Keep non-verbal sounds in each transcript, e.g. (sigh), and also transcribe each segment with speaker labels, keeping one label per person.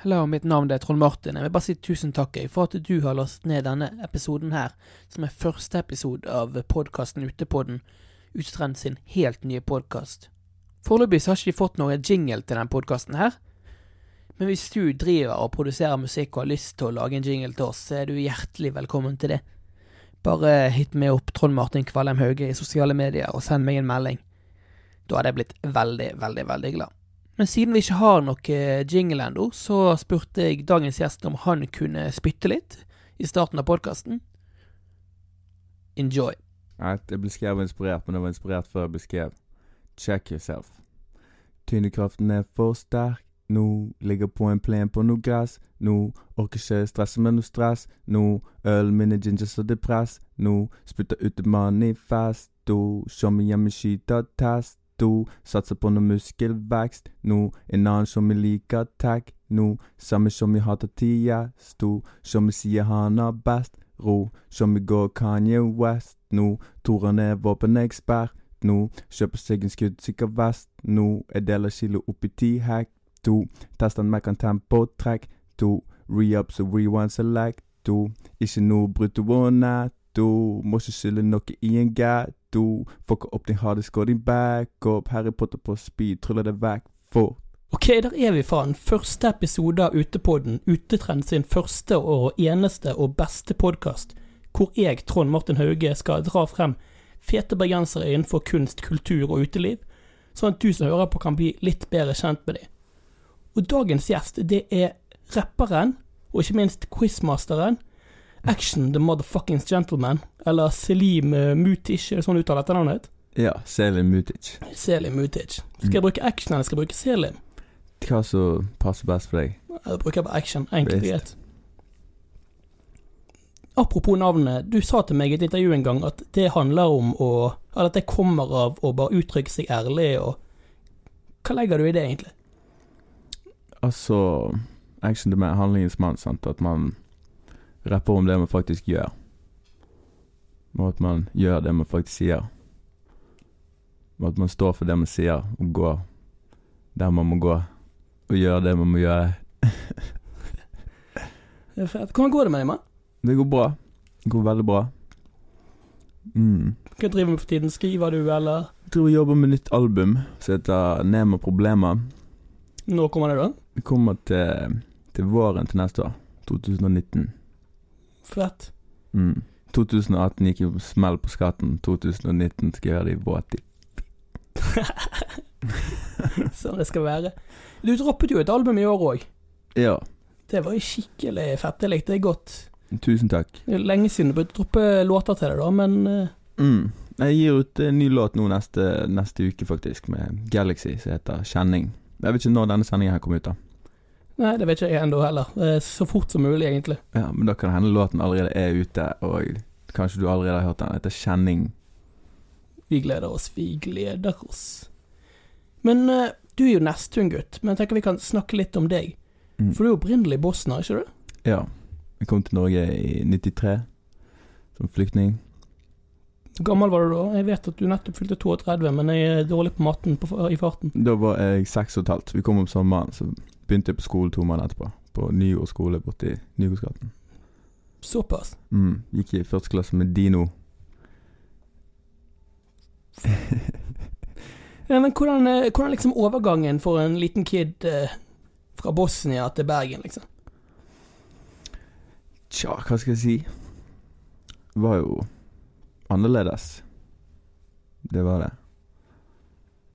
Speaker 1: Hello, mitt navn er Trond Martin. Jeg vil bare si tusen takk jeg, for at du har lastet ned denne episoden her, som er første episode av podkasten Utepodden, Utstrand sin helt nye podkast. Foreløpig så har ikke de fått noen jingle til den podkasten her, men hvis du driver og produserer musikk og har lyst til å lage en jingle til oss, så er du hjertelig velkommen til det. Bare hit meg opp Trond Martin Kvalheim Hauge i sosiale medier og send meg en melding. Da hadde jeg blitt veldig, veldig, veldig glad. Men siden vi ikke har noe jingle ennå, så spurte jeg dagens gjest om han kunne spytte litt i starten av podkasten. Enjoy.
Speaker 2: Nei, jeg ble skrevet inspirert, men jeg var inspirert før jeg ble skrevet. Check yourself. Tyngdekraften er for sterk. Nå ligger på en plen på noe gress. Nå orker ikke stresse med noe stress. Nå ølen min er ginger så det press. Nå spytter ut et manifesto. Som hjemme skyter testo. Satser på noe muskelvekst. Nå en annen som jeg liker tech. Nå samme som jeg hater tiesto. Som jeg sier han har best. Ro som jeg går Kanye West. Nå tror han er våpenekspert. Nå kjøper seg en skuddsikker vest. Nå jeg deler kilo opp i ti hekk. To tester Mac en tempotrekk. To re-ups og rewind select. To ikke noe brutto og netto. Må ikke skylde noe i en gatto. Fucka opp din hardisk og din backup. Harry Potter på speed, tryller det vekk fort.
Speaker 1: Ok, der er vi faen. Første episode av Utepodden. Utetrend sin første og eneste og beste podkast, hvor jeg, Trond Martin Hauge, skal dra frem fete bergensere innenfor kunst, kultur og uteliv, sånn at du som hører på kan bli litt bedre kjent med dem. Og dagens gjest, det er rapperen, og ikke minst quizmasteren, Action the Motherfuckings Gentleman, eller Selim eh, Mutish, er det sånn du uttaler etternavnet?
Speaker 2: Ja, Selim Mutic.
Speaker 1: Selim Mutish. Skal jeg bruke Action, eller skal jeg bruke Selim?
Speaker 2: Hva som passer best for deg?
Speaker 1: Jeg bruker bare action, enkelt og
Speaker 2: Best.
Speaker 1: greit. Apropos navnet, du sa til meg i et intervju en gang at det handler om å Eller at det kommer av å bare uttrykke seg ærlig og Hva legger du i det, egentlig?
Speaker 2: Altså Action det med handlingens mann, sant. At man rapper om det man faktisk gjør. Og at man gjør det man faktisk sier. Og at man står for det man sier, og går der man må gå. Og gjør det man må gjøre.
Speaker 1: Det er fett. Hvordan går det med deg, mann?
Speaker 2: Det går bra. Det går veldig bra. Mm.
Speaker 1: Hva driver du med for tiden? Skriver du, eller
Speaker 2: Jeg tror jeg jobber med nytt album som heter Nema Problema.
Speaker 1: Når kommer det, da?
Speaker 2: Det kommer til, til våren til neste år. 2019.
Speaker 1: Fett. (laughs)
Speaker 2: Mm. 2018 gikk jo smell på skatten. 2019 skal jeg gjøre det i våt tid.
Speaker 1: Sånn det skal være. Du droppet jo et album i år òg.
Speaker 2: Ja.
Speaker 1: Det var jo skikkelig fett. Jeg likte det godt.
Speaker 2: Tusen takk.
Speaker 1: Det er lenge siden du begynte å droppe låter til deg, da, men eh,
Speaker 2: Mm. Jeg gir ut en ny låt nå neste, neste uke, faktisk, med Galaxy, som heter Kjenning. Jeg vet ikke når denne sendingen her kommer ut, da.
Speaker 1: Nei, det vet ikke jeg ennå heller. Eh, Så fort som mulig, egentlig.
Speaker 2: Ja, Men da kan det hende låten allerede er ute, og kanskje du allerede har hørt den. Den heter Kjenning.
Speaker 1: Vi gleder oss, vi gleder oss. Men eh, du er jo Nesttun-gutt, men jeg tenker vi kan snakke litt om deg.
Speaker 2: Mm.
Speaker 1: For du er opprinnelig bosner, ikke du?
Speaker 2: Ja. Jeg kom til Norge i 93 som flyktning.
Speaker 1: Hvor gammel var du da? Jeg vet at du nettopp fylte 32, men jeg er dårlig på matten på, i farten.
Speaker 2: Da var jeg seks og et halvt. Vi kom om sommeren, så begynte jeg på skole to måneder etterpå. På Nygård skole borti Nygårdsgaten.
Speaker 1: Såpass.
Speaker 2: Mm, gikk i første klasse med Dino.
Speaker 1: Ja, men hvordan, eh, hvordan liksom overgangen for en liten kid eh, fra Bosnia til Bergen, liksom?
Speaker 2: Tja, hva skal jeg si? Var jo annerledes. Det var det.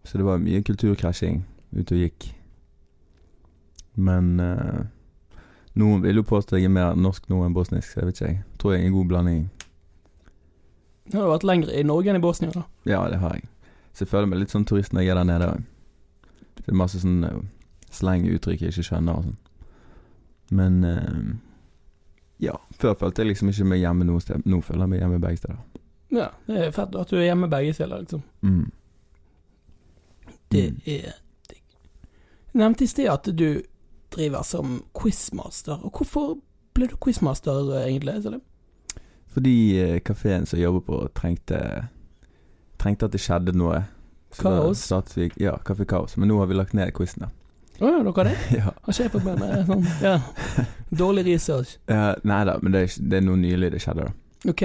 Speaker 2: Så det var mye kulturkrasjing ute og gikk. Men eh, noen vil jo påstå jeg er mer norsk nå enn bosnisk, så jeg vet ikke. jeg. Tror jeg er en god blanding.
Speaker 1: Nå har du vært lenger i Norge enn i Bosnia, da.
Speaker 2: Ja, det har jeg. Så jeg føler meg litt sånn turist når jeg er der nede òg. Det er masse sånn eh, sleng og uttrykk jeg ikke skjønner og sånn. Men eh, ja. Før følte jeg liksom ikke meg hjemme noe sted. Nå føler jeg meg hjemme begge steder.
Speaker 1: Ja, det er fett at du er hjemme begge steder, liksom.
Speaker 2: Mm.
Speaker 1: Det
Speaker 2: Mm.
Speaker 1: er digg. Jeg nevnte i sted at du driver som quizmaster. Og hvorfor ble du quizmaster, eh, egentlig? Selim?
Speaker 2: Fordi eh, kafeen som jeg jobber på, trengte Trengte at det skjedde noe. Så da
Speaker 1: Kaos? (laughs)
Speaker 2: startet vi, ja, Kaffe Kaos. Men nå har vi lagt ned quizen, da.
Speaker 1: Å ja, dere har det?
Speaker 2: ja.
Speaker 1: Har ikke jeg fått med meg sånn? Ja. Dårlig research.
Speaker 2: Eh, nei da, men det er, ikke- det er noe nylig det skjedde. da
Speaker 1: Ok.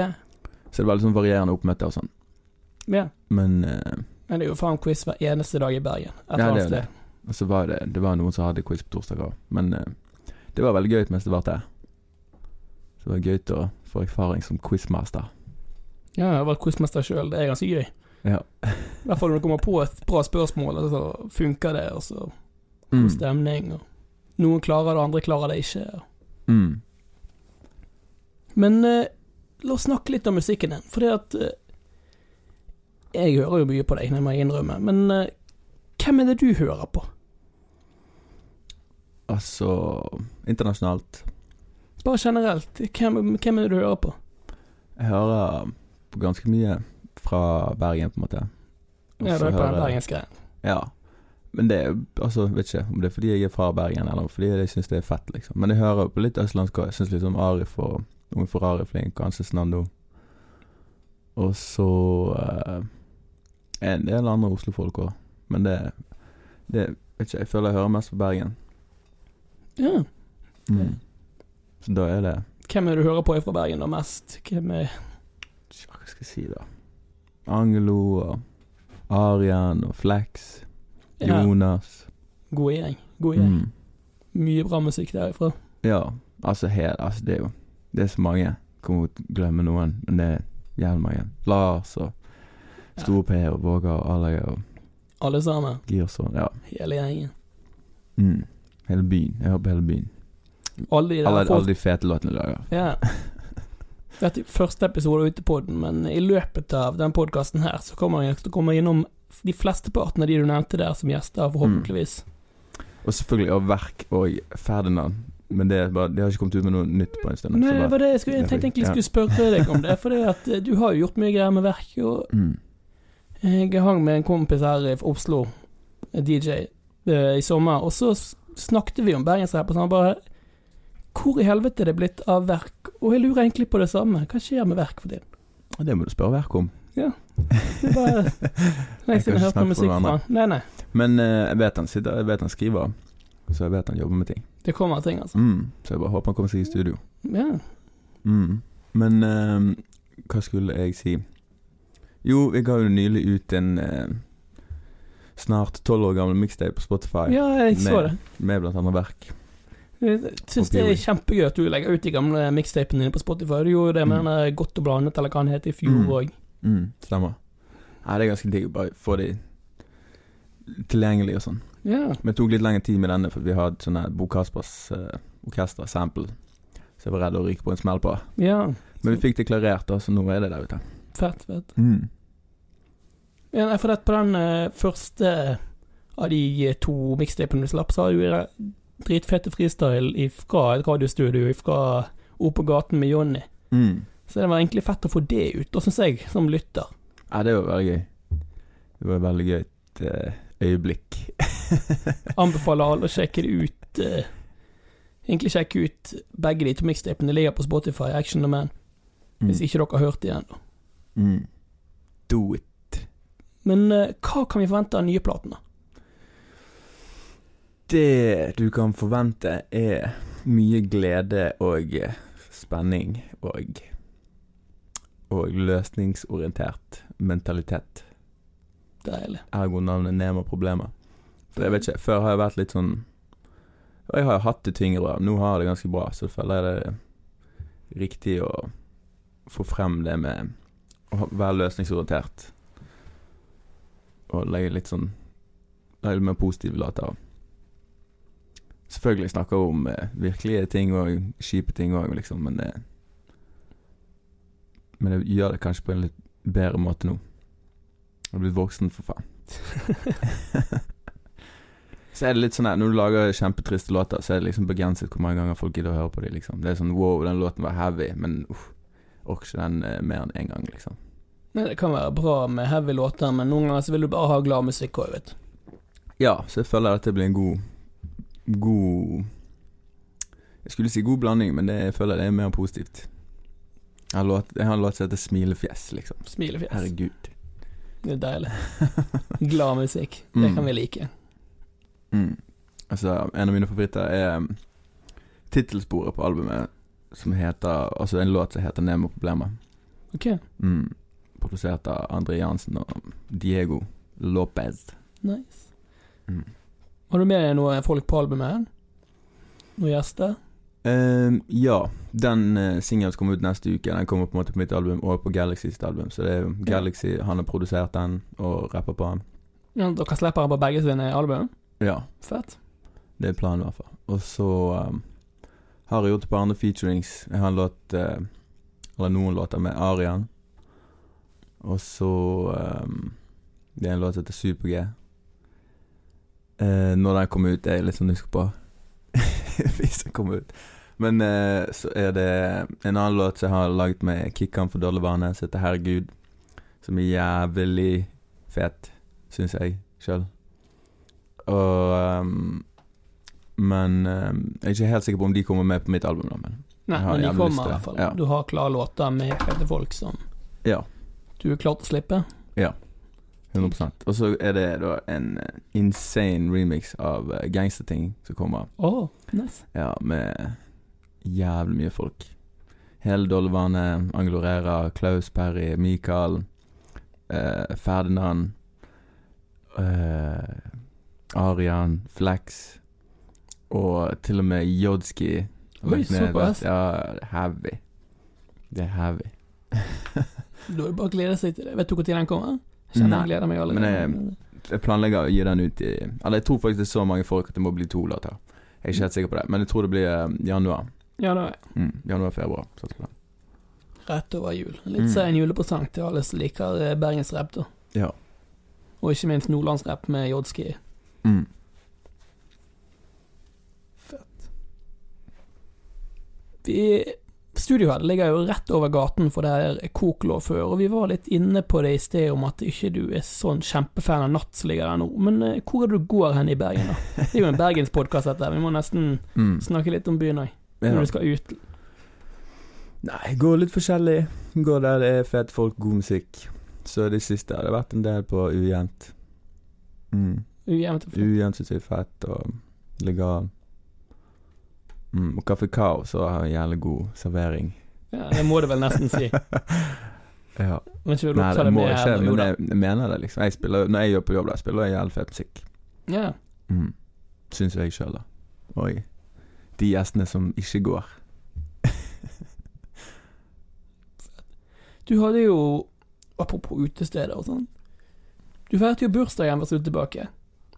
Speaker 2: Så det var litt sånn varierende oppmøte og sånn.
Speaker 1: Ja.
Speaker 2: Men eh,
Speaker 1: Men det er jo faen quiz hver eneste dag i Bergen.
Speaker 2: Ja,
Speaker 1: Et eller
Speaker 2: det er
Speaker 1: annet
Speaker 2: jo
Speaker 1: sted.
Speaker 2: og så var det Det var noen som hadde quiz på torsdag òg. Men eh, det var veldig gøy mens det var der. Så det var gøy å få erfaring som quizmaster.
Speaker 1: Ja, jeg har vært quizmester sjøl, det er ganske gøy.
Speaker 2: Ja.
Speaker 1: I hvert fall når du kommer på et bra spørsmål, og så funker det, og så
Speaker 2: Mm.
Speaker 1: god stemning, og noen klarer det, andre klarer det ikke.
Speaker 2: Mm.
Speaker 1: Men eh, la oss snakke litt om musikken din, fordi at eh, Jeg hører jo mye på deg, det må jeg innrømme, men eh, hvem er det du hører på?
Speaker 2: Altså internasjonalt.
Speaker 1: Bare generelt, hvem, hvem er det du hører på?
Speaker 2: Jeg hører på ganske mye fra Bergen, på en måte. Og
Speaker 1: Ja,
Speaker 2: så
Speaker 1: det er på den
Speaker 2: hører-
Speaker 1: bergensgreien.
Speaker 2: Ja. Men det er altså, vet ikke om det er fordi jeg er fra Bergen, eller fordi jeg syns det er fett, liksom. Men jeg hører på litt østlandsk òg. Jeg syns liksom Arif og Unge Ferrari er flink, og Anses Nando. Og så eh, en del andre Oslo-folk òg. Men det, det Vet ikke, jeg føler jeg hører mest på Bergen.
Speaker 1: Ja.
Speaker 2: Mm. Så da er det
Speaker 1: Hvem er det du hører på fra Bergen da mest? Hvem er
Speaker 2: Tja, Hva skal jeg si, da? Angelo og Arian og Flex.
Speaker 1: ja, Oh,
Speaker 2: Jonas.
Speaker 1: God gjeng. God gjeng.
Speaker 2: Mm.
Speaker 1: Mye bra musikk derifra.
Speaker 2: Ja, altså helt altså, Det er jo Det er så mange. Jeg Kommer til å glemme noen, men det er jævlig mange. Lars og Store P og Våga og Alaga og
Speaker 1: Alle sammen.
Speaker 2: Girson. Ja.
Speaker 1: Hele gjengen.
Speaker 2: Mm. Hele byen. Jeg hører på hele byen.
Speaker 1: Alle de der
Speaker 2: Alle,
Speaker 1: folk-
Speaker 2: alle de fete låtene de lager. (laughs)
Speaker 1: Ja. Dette er første episode ute på den, men i løpet av den podkasten her, så kommer jeg til å komme innom de fleste partene av de du nevnte der som gjester,
Speaker 2: Mm.
Speaker 1: forhåpentligvis.
Speaker 2: Og selvfølgelig av Verk og Ferdinand. Men det er bare, de har ikke kommet ut med noe nytt på en stund.
Speaker 1: Nei,
Speaker 2: så
Speaker 1: det
Speaker 2: bare,
Speaker 1: var det jeg, skulle, jeg tenkte egentlig jeg skulle spørre deg om det, for det at eh, du har jo gjort mye greier med verk, og
Speaker 2: mm.
Speaker 1: jeg hang med en kompis her i Oslo, en DJ, eh, i sommer, og så s- snakket vi om bergensrapp, og så han bare Hvor i helvete er det blitt av verk? Og jeg lurer egentlig på det samme, hva skjer med verk for tiden?
Speaker 2: Og Det må du spørre Verk om.
Speaker 1: Det er
Speaker 2: (laughs)
Speaker 1: bare lenge siden jeg har hørt
Speaker 2: snakke
Speaker 1: noe musikk
Speaker 2: for
Speaker 1: fra
Speaker 2: hverandre.
Speaker 1: han. Nei, nei.
Speaker 2: Men eh, jeg vet han sitter, jeg vet han skriver, så jeg vet han jobber med ting.
Speaker 1: Det kommer ting, altså.
Speaker 2: Mm. Så jeg bare håper han kommer seg i studio.
Speaker 1: Ja.
Speaker 2: Mm. Men eh, hva skulle jeg si? Jo, vi ga jo nylig ut en eh, snart tolv år gammel mixtape på Spotify
Speaker 1: ja, jeg så
Speaker 2: Med-
Speaker 1: det.
Speaker 2: med blant annet verk.
Speaker 1: Jeg syns det er kjempegøy at du legger ut de gamle mixtapene dine på Spotify. Du gjorde jo det med
Speaker 2: Mm.
Speaker 1: den der Godt og blandet, eller hva den het, i
Speaker 2: Mm.
Speaker 1: fjor òg.
Speaker 2: Mm, stemmer. Nei, det er ganske digg å bare få de tilgjengelige og sånn.
Speaker 1: Ja.
Speaker 2: Men det tok litt lengre tid med denne, for vi hadde sånn her Bo Kaspers eh, orkester-sample. Så jeg var redd å ryke på en smell på.
Speaker 1: ja.
Speaker 2: Men vi fikk det klarert, da, så nå er det der ute.
Speaker 1: Fett, fett.
Speaker 2: Mm.
Speaker 1: Ja, nei, for det, på den eh, første av de eh, to mixtapene du slapp, så har du jo de dritfete freestyle fra et radiostudio fra Opp på gaten med Johnny.
Speaker 2: Mm.
Speaker 1: Så det var egentlig fett å få det ut, da syns jeg, som lytter.
Speaker 2: Ja, det var veldig gøy. Det var et veldig gøy et eh, øyeblikk.
Speaker 1: Anbefaler alle å sjekke det ut. eh, egentlig sjekke ut begge de to mixtapene. Det ligger på Spotify, Action the Man, (laughs) hvis ikke dere har hørt det igjen.
Speaker 2: Mm. Do it.
Speaker 1: Men eh, hva kan vi forvente av nye platene?
Speaker 2: Det du kan forvente, er mye glede og eh, spenning og og løsningsorientert mentalitet.
Speaker 1: Deilig.
Speaker 2: Ergo navnet Nema Problemer. For jeg vet ikke, før har jeg vært litt sånn Og jeg har jo hatt det tyngre, nå har jeg det ganske bra, så føler jeg det er riktig å få frem det med å ha- være løsningsorientert. Og legge litt sånn Legge litt mer positive later. Selvfølgelig snakker jeg om eh, virkelige ting og kjipe ting òg, liksom, men det Men jeg gjør det kanskje på en litt bedre måte nå. Jeg har blitt voksen, for faen. Så er det litt sånn her, Når du lager kjempetriste låter, så er det liksom begrenset hvor mange ganger folk gidder å høre på dem. Liksom. Det er sånn wow, den låten var heavy, men uff, orker ikke den eh, mer enn én gang, liksom.
Speaker 1: Nei, det kan være bra med heavy låter, men noen ganger så vil du bare ha glad musikk òg, vet du.
Speaker 2: Ja, så jeg føler at det blir en god God Jeg skulle si god blanding, men det, jeg føler det er mer positivt. Jeg har, låt, jeg har en låt som heter 'Smilefjes', liksom.
Speaker 1: Smilefjes.
Speaker 2: Herregud. (laughs)
Speaker 1: Det er deilig. Glad musikk. Det
Speaker 2: Mm.
Speaker 1: kan vi like.
Speaker 2: Mm. Altså, en av mine favoritter er um, tittelsporet på albumet, som heter Altså en låt som heter 'Nemo problemet'.
Speaker 1: Ok,
Speaker 2: Mm. Produsert av André Jansen og Diego Lopez.
Speaker 1: nice.
Speaker 2: Mm.
Speaker 1: Har du med deg noen folk på albumet? her? Noen gjester?
Speaker 2: Ehm, ja, den uh, singelen som kommer ut neste uke, den kommer på en måte på mitt album og på Galaxy sitt album. Så det er jo Galaxy, han har produsert den og rapper på den.
Speaker 1: Ja, dere slipper den på begge sine album?
Speaker 2: Ja,
Speaker 1: Fett.
Speaker 2: det er planen i hvert fall. Og så ehm, har jeg gjort et par andre featurings. Jeg har en låt eh, Eller noen låter med Arian. Og så ehm, Det er en låt som heter Super-G. Eh, når den kommer ut, er jeg litt sånn usikker på. (laughs) Hvis den kommer ut. Men eh, så er det en annen låt som jeg har laget med Kikkan for Dollebane, som heter 'Herregud'. Som er jævlig fet, syns jeg sjøl. Og ehm, Men ehm, jeg er ikke helt sikker på om de kommer med på mitt album, da, men
Speaker 1: Nei,
Speaker 2: Jeg har
Speaker 1: men de
Speaker 2: jævlig lyst til
Speaker 1: kommer i
Speaker 2: det.
Speaker 1: hvert fall.
Speaker 2: Ja.
Speaker 1: Du har klare låter med kledde folk som
Speaker 2: ja.
Speaker 1: du er klar til å slippe.
Speaker 2: 100 Og så er det da en eh, insane remix av eh, Gangsterting som kommer.
Speaker 1: Å, nice.
Speaker 2: Ja, med jævlig mye folk. Hele Dolvane, Anglorera, Klaus Perry, Mikael, eh, Ferdinand eh, Arian, Flex og til og med Jodski.
Speaker 1: Oi, såpass.
Speaker 2: Ja, heavy. Det er heavy.
Speaker 1: Da er det bare å glede seg til det. Vet du når den kommer? Jeg Kjenner
Speaker 2: Nei,
Speaker 1: jeg gleder meg allerede.
Speaker 2: men Jeg planlegger å gi den ut i Eller jeg tror faktisk det er så mange folk at det må bli to låter. Jeg er ikke helt sikker på det, men jeg tror det blir eh, januar.
Speaker 1: ja, da er jeg
Speaker 2: Mm, Januar-februar. satser på det.
Speaker 1: rett over jul. Litt
Speaker 2: Mm.
Speaker 1: sen julepresang til alle som liker eh, bergensrapp, da.
Speaker 2: Ja.
Speaker 1: Og ikke minst nordlandsrapp med Jodski.
Speaker 2: Mm.
Speaker 1: Vi, studioet her det ligger jo rett over gaten for der Koklo før, og vi var litt inne på det i sted om at ikke du er sånn kjempefan av Natt som ligger der nå, men eh, hvor er det du går hen i Bergen, da? Det er jo en bergenspodkast, dette. her. Vi må nesten
Speaker 2: Mm.
Speaker 1: snakke litt om byen òg,
Speaker 2: Ja.
Speaker 1: når du skal ut.
Speaker 2: Nei, jeg går litt forskjellig. Jeg Går der det er fete folk, god musikk. Så det siste har det vært en del på Ujevnt. Mm.
Speaker 1: Ujevnt. og flott.
Speaker 2: Ujevnt syns jeg er fett, og legal. Mm. Og Kaffe Kaos også har en jævlig god servering.
Speaker 1: Ja, det må du vel
Speaker 2: (laughs)
Speaker 1: nesten si.
Speaker 2: Ja.
Speaker 1: Men ikke vil du
Speaker 2: Nei,
Speaker 1: ta
Speaker 2: det
Speaker 1: det
Speaker 2: må
Speaker 1: med
Speaker 2: ikke,
Speaker 1: her? Jo
Speaker 2: men
Speaker 1: da.
Speaker 2: jeg, jeg mener det, liksom. Jeg spiller, når jeg gjør på jobb, da, spiller jeg jævlig fet musikk.
Speaker 1: Ja.
Speaker 2: Mm. Syns jeg sjøl, da. Oi. De gjestene som ikke går.
Speaker 1: Du hadde jo Apropos utesteder og sånn. Du feirte jo bursdagen for å slutte tilbake.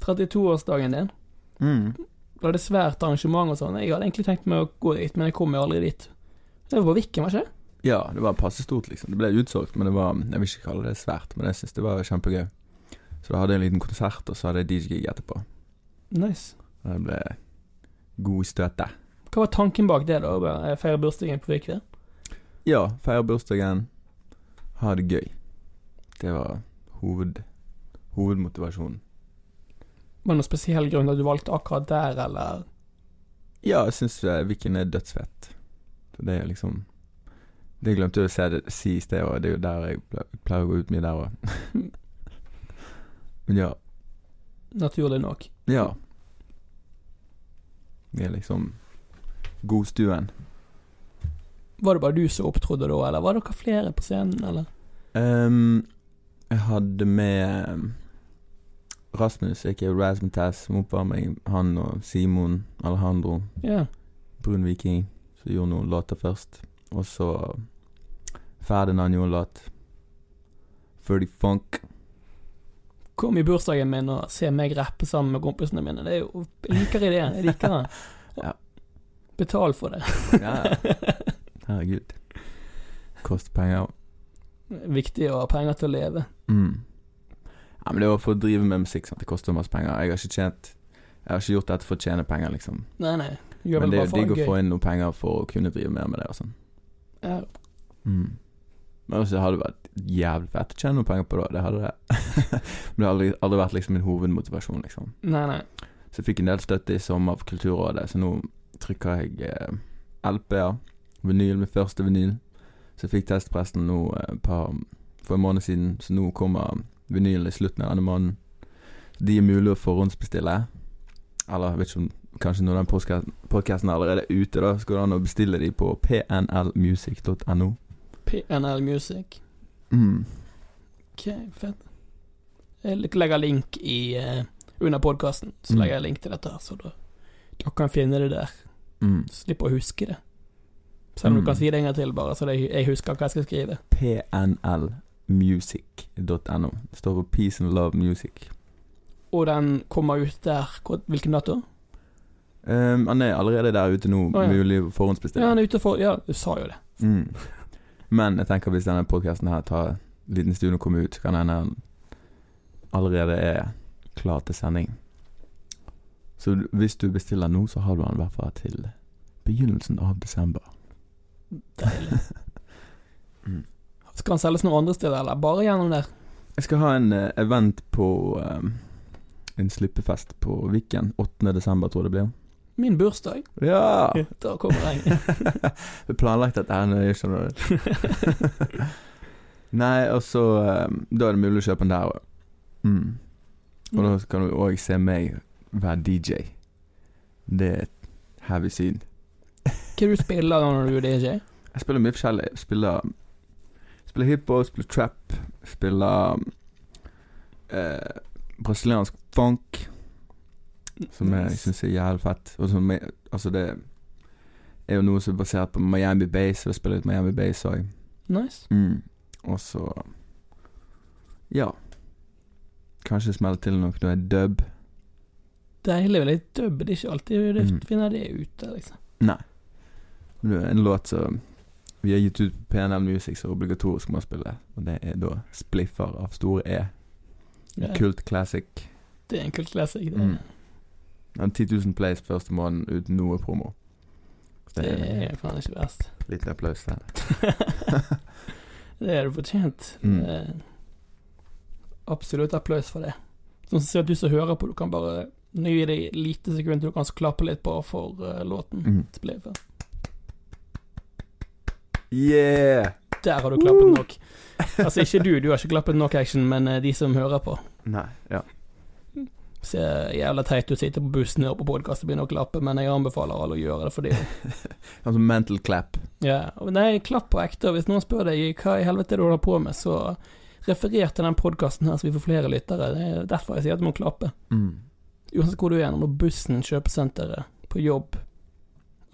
Speaker 1: 32-årsdagen din. Du hadde svært arrangement og sånn. Jeg hadde egentlig tenkt meg å gå dit, men jeg kom jo aldri dit. Det var på Viken, var ikke det?
Speaker 2: Ja, det var passe stort, liksom. Det ble utsolgt, men det var Jeg vil ikke kalle det svært, men jeg syns det var kjempegøy. Så da hadde jeg en liten konsert, og så hadde jeg DJ-gig etterpå.
Speaker 1: Nice.
Speaker 2: Og det ble god støte.
Speaker 1: Hva var tanken bak det, da? Å bare eh, feire bursdagen på Viken?
Speaker 2: Ja, feire bursdagen, ha det gøy. Det var hoved, hovedmotivasjonen.
Speaker 1: Var det noen spesiell grunn til at du valgte akkurat der, eller?
Speaker 2: Ja, jeg syns Viken er dødsfett. Så Det er liksom Det glemte jeg å si, det, si i sted, og det er jo der jeg ple- pleier å gå ut mye der òg. Men ja.
Speaker 1: Naturlig nok.
Speaker 2: Ja. Vi er liksom godstuen.
Speaker 1: Var det bare du som opptrodde da, eller var dere flere på scenen, eller?
Speaker 2: Ehm, jeg hadde med ehm, Rasmus, ikke Rasmutas, som oppvarming. Han og Simon Alejandro.
Speaker 1: Ja.
Speaker 2: Brun Viking som gjorde noen låter først. Og så Ferdinand gjorde en låt. Ferdy Funk.
Speaker 1: Kom i bursdagen min og se meg rappe sammen med kompisene mine. Det er jo Jeg liker ideen. Jeg liker den.
Speaker 2: (laughs) Ja.
Speaker 1: Betal for det. (laughs)
Speaker 2: Ja, (laughs) herregud. Koster penger.
Speaker 1: Viktig å ha penger til å leve.
Speaker 2: Mm. Ja, men det var for å drive med musikk. Sant? Det koster masse penger. Jeg har ikke tjent Jeg har ikke gjort dette for å tjene penger, liksom.
Speaker 1: Nei, nei. Gjør
Speaker 2: Men
Speaker 1: vel
Speaker 2: det er
Speaker 1: bare
Speaker 2: jo
Speaker 1: for
Speaker 2: digg å
Speaker 1: det
Speaker 2: få
Speaker 1: gøy.
Speaker 2: inn noen penger for å kunne drive mer med det og sånn.
Speaker 1: Ja.
Speaker 2: Mm. Men også hadde det vært jævlig fett å tjene noen penger på det. Det hadde det. (laughs) men det har aldri, aldri vært liksom min hovedmotivasjon, liksom.
Speaker 1: Nei, nei.
Speaker 2: Så jeg fikk en del støtte i sommer fra Kulturrådet, så nå trykker jeg eh, LP-er. Vinyl, min første vinyl. Så jeg fikk testpressen nå eh, et par, for en måned siden, så nå kommer vinylen i slutten av denne måneden. De er mulig å forhåndsbestille. Eller jeg vet ikke om Kanskje når den podkasten allerede er ute, da, så går det an å bestille de på pnlmusic.no.
Speaker 1: PNL Music.
Speaker 2: Mm.
Speaker 1: Ok, fett. Jeg lik- legger link i eh, under podkasten. Så
Speaker 2: Mm.
Speaker 1: legger jeg link til dette, her, så da, dere kan finne det der.
Speaker 2: Mm.
Speaker 1: Slipp å huske det. Selv om
Speaker 2: Mm.
Speaker 1: du kan si det en gang til, bare, så det, jeg husker hva jeg skal skrive.
Speaker 2: pnlmusic.no. Det står for Peace and Love Music.
Speaker 1: Og den kommer ut der hvor- Hvilken dato?
Speaker 2: Um, han er allerede der ute nå,
Speaker 1: Å, ja.
Speaker 2: mulig å
Speaker 1: Ja,
Speaker 2: forhåndsbestille.
Speaker 1: han er ute for Ja, du sa jo det.
Speaker 2: Mm. Men jeg tenker hvis denne podkasten her tar en liten stund å komme ut, kan hende den allerede er klar til sending. Så du- hvis du bestiller nå, så har du den i hvert fall til begynnelsen av desember.
Speaker 1: Deilig.
Speaker 2: Mm.
Speaker 1: Skal han selges noen andre steder, eller bare gjennom der?
Speaker 2: Jeg skal ha en eh, event på eh, en slippefest på Viken. 8. desember, tror jeg det blir.
Speaker 1: Min bursdag.
Speaker 2: Ja!
Speaker 1: Da kommer jeg.
Speaker 2: Vi planlagt dette her nøye, skjønner du. Nei, og så eh, Da er det mulig å kjøpe den der òg. Mm. Og da kan du òg se meg være DJ. Det er et heavy syn.
Speaker 1: Hva du spiller da når du er DJ?
Speaker 2: Jeg spiller mye forskjellig. Jeg Spiller Spiller hiphop, spiller trap, spiller eh, brasiliansk funk, (laughs) som jeg syns er jævlig fett. Og som jeg, altså det er jo noe som er basert på Miami Base, og jeg spiller litt Miami Base òg.
Speaker 1: Nice.
Speaker 2: Mm. Og så Ja. Kanskje smelle til noe når jeg dub.
Speaker 1: Deilig med litt dubb. Det er ikke alltid du
Speaker 2: Mm.
Speaker 1: finner det ute, liksom.
Speaker 2: Nei. Men det er en låt som vi har gitt ut på PNL Music, så obligatorisk må spille. Og det er da 'Spliffer' av store E.
Speaker 1: Ja,
Speaker 2: Kult classic.
Speaker 1: Det er en kult classic. Det,
Speaker 2: Mm. Den 10 000 plays første måneden uten noe promo. Så
Speaker 1: det
Speaker 2: det er
Speaker 1: er faen ikke verst.
Speaker 2: liten applaus der.
Speaker 1: det er du fortjent.
Speaker 2: Mm.
Speaker 1: Eh, absolutt applaus for det. Sånn som sier at du som hører på, du kan bare Nå gir det lite sekund til du kan klappe litt på for eh, låten.
Speaker 2: Mm.
Speaker 1: Spille for.
Speaker 2: Yeah!
Speaker 1: Der har du klappet nok. Altså, ikke du, du har ikke klappet nok action, men eh, de som hører på.
Speaker 2: Nei. Ja.
Speaker 1: Ser jævla teit ut, sitter på bussen og på podkast og begynner å klappe, men jeg anbefaler alle å gjøre det fordi
Speaker 2: Altså mental clap.
Speaker 1: ja. og Nei, klapp på ekte. og Hvis noen spør deg hva i helvete er det du holder på med, så referer til den podkasten her så vi får flere lyttere. Det er derfor jeg sier at du må klappe.
Speaker 2: Mm.
Speaker 1: Uansett hvor du er, om det er bussen, kjøpesenteret, på jobb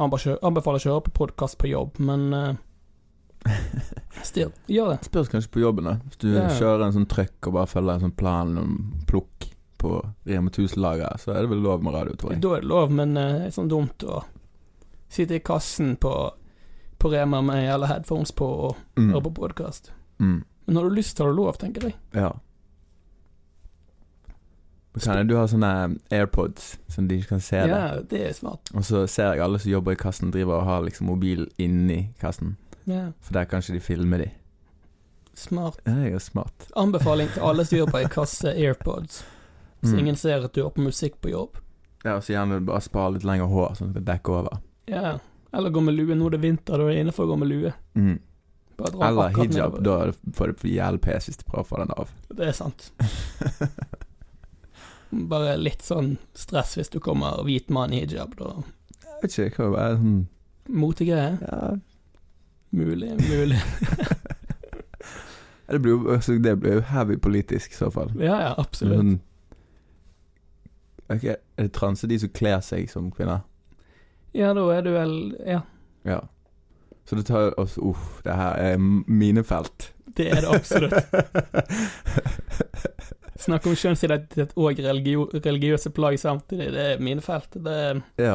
Speaker 1: Anbe- Anbefaler å kjøre på podkast på jobb, men uh,
Speaker 2: (laughs)
Speaker 1: still, gjør det.
Speaker 2: Spørs kanskje på jobben, da. Hvis du
Speaker 1: Ja.
Speaker 2: kjører en sånn trøkk og bare følger en sånn plan om plukk på Rema 1000-lageret, så er det vel lov med radio, tror jeg.
Speaker 1: Da er det lov, men eh, det er sånn dumt å sitte i kassen på, på Rema med alle headphones på og
Speaker 2: Mm.
Speaker 1: høre på podkast.
Speaker 2: Mm.
Speaker 1: Men har du lyst, har du lov, tenker jeg.
Speaker 2: Ja. Men Kan jeg, du har sånne AirPods som de ikke kan se
Speaker 1: ja,
Speaker 2: det.
Speaker 1: det er smart.
Speaker 2: Og så ser jeg alle som jobber i kassen, driver og har liksom mobil inni kassen.
Speaker 1: Ja,
Speaker 2: For der kan ikke de filme de.
Speaker 1: smart.
Speaker 2: Ja, Jeg er smart.
Speaker 1: Anbefaling til alle som gjør på ei kasse AirPods, så
Speaker 2: Mm.
Speaker 1: ingen ser at du hører på musikk på jobb.
Speaker 2: Ja, og så gjerne bare spare litt lengre hår, sånn at det dekker over.
Speaker 1: Ja, eller gå med lue. Nå er det vinter, da er det innenfor å gå med lue.
Speaker 2: Mm.
Speaker 1: Bare dra
Speaker 2: Eller
Speaker 1: akkurat
Speaker 2: hijab,
Speaker 1: nedover.
Speaker 2: da er det- får du jævlig pes hvis du prøver å få den av.
Speaker 1: Det er sant.
Speaker 2: (laughs)
Speaker 1: Bare litt sånn stress hvis du kommer hvit mann i hijab, da.
Speaker 2: Jeg vet ikke, det kan jo være sånn
Speaker 1: Motegreier?
Speaker 2: Ja,
Speaker 1: Mulig, mulig.
Speaker 2: Ja, Det blir jo, altså, det blir jo heavy politisk i så fall.
Speaker 1: Ja, ja, absolutt.
Speaker 2: Sånn, ok, er det transe de som kler seg som kvinner?
Speaker 1: Ja, da er du vel Ja,
Speaker 2: Ja. Så det tar oss Uff, det her er m- mine felt.
Speaker 1: det er det absolutt. Snakk om kjønnsidentitet og religio religiøse plagg samtidig, det er mine felt. Det er,
Speaker 2: (laughs) ja.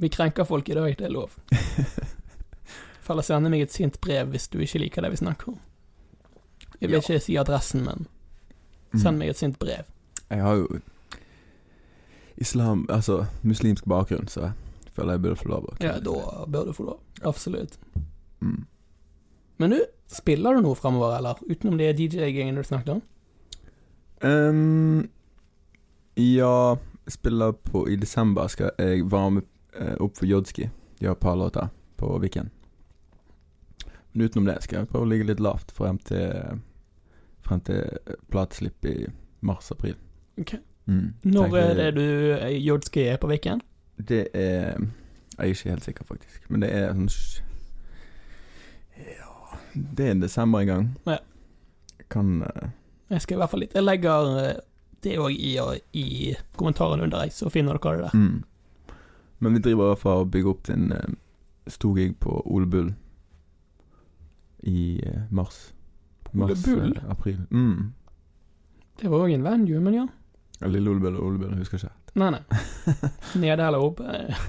Speaker 1: vi krenker folk i dag, det er (laughs) lov. Faller sende meg et sint brev hvis du ikke liker det vi snakker om. Jeg vil
Speaker 2: Ja.
Speaker 1: ikke si adressen, men
Speaker 2: Mm.
Speaker 1: send meg et sint brev.
Speaker 2: Jeg har jo islam Altså muslimsk bakgrunn, så jeg føler jeg burde få lov å
Speaker 1: Ja, da bør du få lov. Absolutt.
Speaker 2: Mm.
Speaker 1: Men du, spiller du noe fremover, eller? Utenom det DJ-gingen du snakket om?
Speaker 2: Ehm, ja, jeg spiller på I desember skal jeg varme eh, opp for Jodski. De har et par låter på Viken. Men utenom det skal jeg prøve å ligge litt lavt frem til Frem til plateslipp i eh, mars-april.
Speaker 1: Ok.
Speaker 2: Mm.
Speaker 1: Når
Speaker 2: Tenker-
Speaker 1: er det du eh, Jodski er på Viken?
Speaker 2: Det er Jeg er ikke helt sikker, faktisk. Men det er sånn sj- Ja Det er i desember en gang.
Speaker 1: Ja.
Speaker 2: Kan eh,
Speaker 1: Jeg skal i hvert fall litt Jeg legger eh, det òg i, eh, i kommentaren under deg, så finner dere det der.
Speaker 2: mm. Men vi driver i hvert fall og bygger opp til en eh, stor gig på Ole Bull i eh, mars.
Speaker 1: Ole
Speaker 2: Mars,
Speaker 1: Bull?
Speaker 2: eh, April. Mm.
Speaker 1: Det var òg en venue, men ja.
Speaker 2: Ja, Lille Ole Bull og Ole Bull, jeg husker ikke.
Speaker 1: Nei, (laughs) nei. Nede eller oppe. (laughs) eh,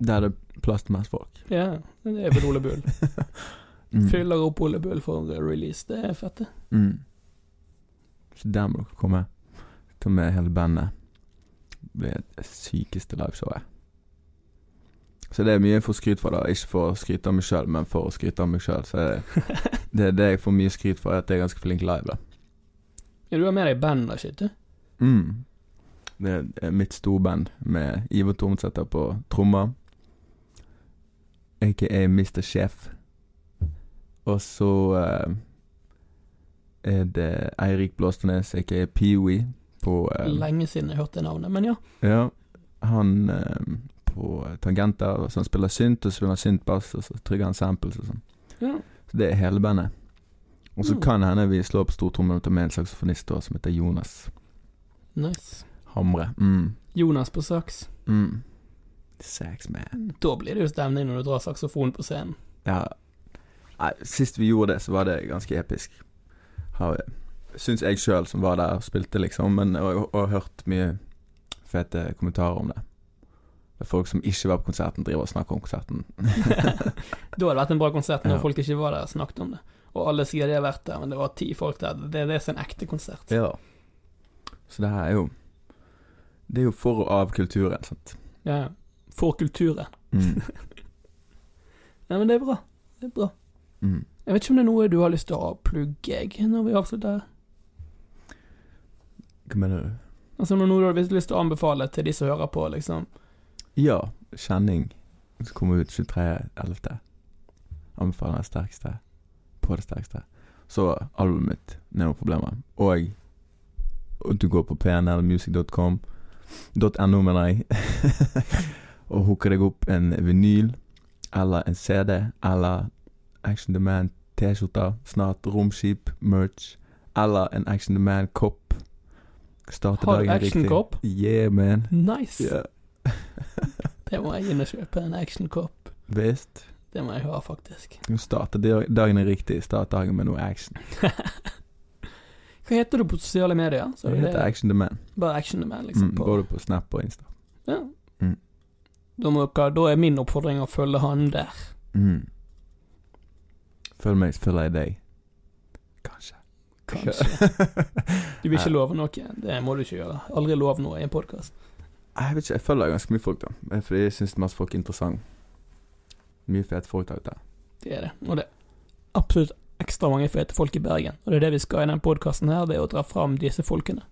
Speaker 2: Der er det plass til mest folk.
Speaker 1: Ja, det er vel Ole Bull.
Speaker 2: Mm.
Speaker 1: Fyller opp Ole Bull for eh, release, det er fett, det.
Speaker 2: Mm. Så der må dere komme. Ta med hele bandet. Det blir det sykeste liveshowet. Så det er mye jeg får skryt for, da. Ikke for å skryte av meg sjøl, men for å skryte av meg sjøl. Så (laughs) det, det er det jeg får mye skryt for, er at jeg er ganske flink live, da.
Speaker 1: Ja, du har med deg band og shit, du.
Speaker 2: Mm. Det er eh, mitt storband med Ivo Tormsæter på trommer. Aka Mr. Chef. Og så eh, er det Eirik Blåstenes, aka Peewee, på eh,
Speaker 1: Lenge siden jeg hørte det navnet, men ja.
Speaker 2: Ja, han eh, på tangenter, så han spiller synt, og så spiller han syntbass, og så trygger han samples og sånn.
Speaker 1: ja.
Speaker 2: Så det er hele bandet. Og så
Speaker 1: Mm.
Speaker 2: kan hende vi slår på stortrommen og tar med en saksofonist også, som heter Jonas
Speaker 1: Nice.
Speaker 2: Hamre. Mm.
Speaker 1: Jonas på saks.
Speaker 2: Mm. Sex, man.
Speaker 1: Da blir det jo stemning når du drar saksofon på scenen. (laughs)
Speaker 2: Ja. Nei, sist vi gjorde det, så var det ganske episk. Har, syns jeg sjøl som var der og spilte, liksom, men, og, og hørt mye fete kommentarer om det. Det er folk som ikke var på konserten, driver og snakker om konserten.
Speaker 1: Da hadde det vært en bra konsert når
Speaker 2: Ja.
Speaker 1: folk ikke var der og snakket om det. Og alle sier de har vært der, men det var ti folk der. Det, det er sin ekte konsert.
Speaker 2: Ja. Så det her er jo Det er jo for og av kulturen, sant.
Speaker 1: Ja. For kulturen.
Speaker 2: Mm.
Speaker 1: Nei, men det er bra. Det er bra.
Speaker 2: (laughs) Mm.
Speaker 1: Jeg vet ikke om det er noe du har lyst til å plugge, jeg, når vi avslutter.
Speaker 2: Hva mener du?
Speaker 1: Altså om det er noe du har lyst til å anbefale til de som hører på, liksom.
Speaker 2: Ja, Kjenning. Som kommer ut 23.11. Anbefaler det sterkeste. På det sterkeste. Så albumet mitt, Neo Problemer. Og, og du går på pnlmusic.com .no, mener jeg. (laughs) og hooker deg opp en vinyl eller en CD eller Action Demand T-skjorte, snart romskip, merch, eller en Action Demand-kopp. Starter
Speaker 1: Har du
Speaker 2: dagen riktig.
Speaker 1: actionkopp?
Speaker 2: Yeah, man.
Speaker 1: Nice!
Speaker 2: (laughs) Yeah.
Speaker 1: Det må jeg inn og kjøpe, en actionkopp.
Speaker 2: Visst.
Speaker 1: Det må jeg ha, faktisk.
Speaker 2: Du starter dag- dagen riktig. Start dagen med noe action.
Speaker 1: Hva heter du på sosiale medier? Så
Speaker 2: Det
Speaker 1: det
Speaker 2: heter
Speaker 1: er
Speaker 2: Action the Man.
Speaker 1: bare Action the Man, liksom.
Speaker 2: Mm,
Speaker 1: På.
Speaker 2: både på Snap og Insta.
Speaker 1: Ja.
Speaker 2: Mm.
Speaker 1: Da, må dere, da er min oppfordring å følge han der.
Speaker 2: Mm. Følg meg, så følger jeg deg. Kanskje. (laughs)
Speaker 1: Kanskje. Du vil ikke love noe. Det må du ikke gjøre. Aldri lov noe i en podkast.
Speaker 2: Jeg vet ikke, jeg følger ganske mye folk, da. Eh, Fordi jeg syns masse folk er interessante. Mye fete folk der ute.
Speaker 1: Det er det. Og det er absolutt ekstra mange fete folk i Bergen. Og det er det vi skal i denne podkasten her, det er å dra fram disse folkene.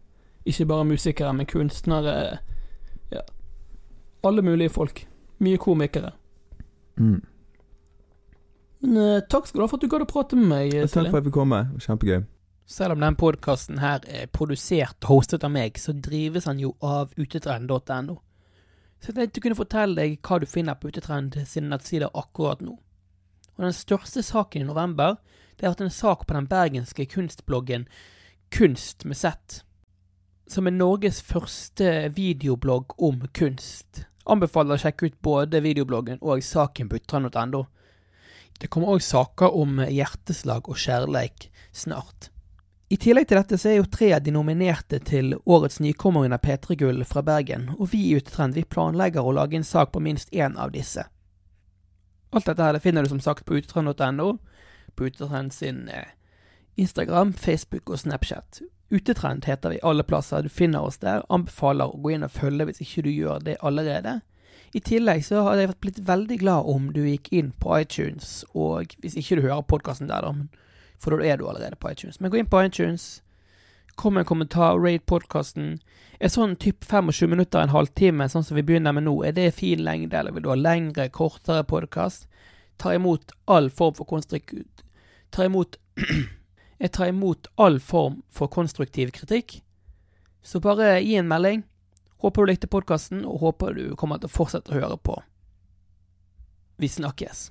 Speaker 1: Ikke bare musikere, men kunstnere. Ja. Alle mulige folk. Mye komikere.
Speaker 2: Mm.
Speaker 1: Men eh, takk skal du ha for at du gadd å prate med meg,
Speaker 2: Takk for
Speaker 1: Silje.
Speaker 2: at jeg fikk komme. Kjempegøy.
Speaker 3: Selv om den podkasten her er produsert og hostet av meg, så drives han jo av utetrend.no. Så jeg tenkte jeg kunne fortelle deg hva du finner på Utetrend sine nettsider akkurat nå. Og den største saken i november, det har vært en sak på den bergenske kunstbloggen Kunst med Z, som er Norges første videoblogg om kunst. Anbefaler å sjekke ut både videobloggen og saken på utetrend.no. Det kommer òg saker om hjerteslag og kjærleik snart. I tillegg til dette så er jo tre av de nominerte til årets nykommeren av P3-gull fra Bergen, og vi i Utetrend vi planlegger å lage en sak på minst én av disse. Alt dette her det finner du som sagt på utetrend.no, på Utetrend sin eh, Instagram, Facebook og Snapchat. Utetrend heter vi alle plasser du finner oss der, anbefaler å gå inn og følge hvis ikke du gjør det allerede. I tillegg så hadde jeg vært blitt veldig glad om du gikk inn på iTunes, og hvis ikke du hører podkasten der, da, men for da er du allerede på iTunes. Men gå inn på iTunes, kom med en kommentar, rate podkasten. Er sånn typ 25 minutter, en halvtime, sånn som vi begynner med nå, er det fin lengde, eller vil du ha lengre, kortere podkast? Tar imot all form for konstruktiv (clears throat) Tar imot Jeg tar imot all form for konstruktiv kritikk. Så bare gi en melding. Håper du likte podkasten, og håper du kommer til å fortsette å høre på. Vi snakkes.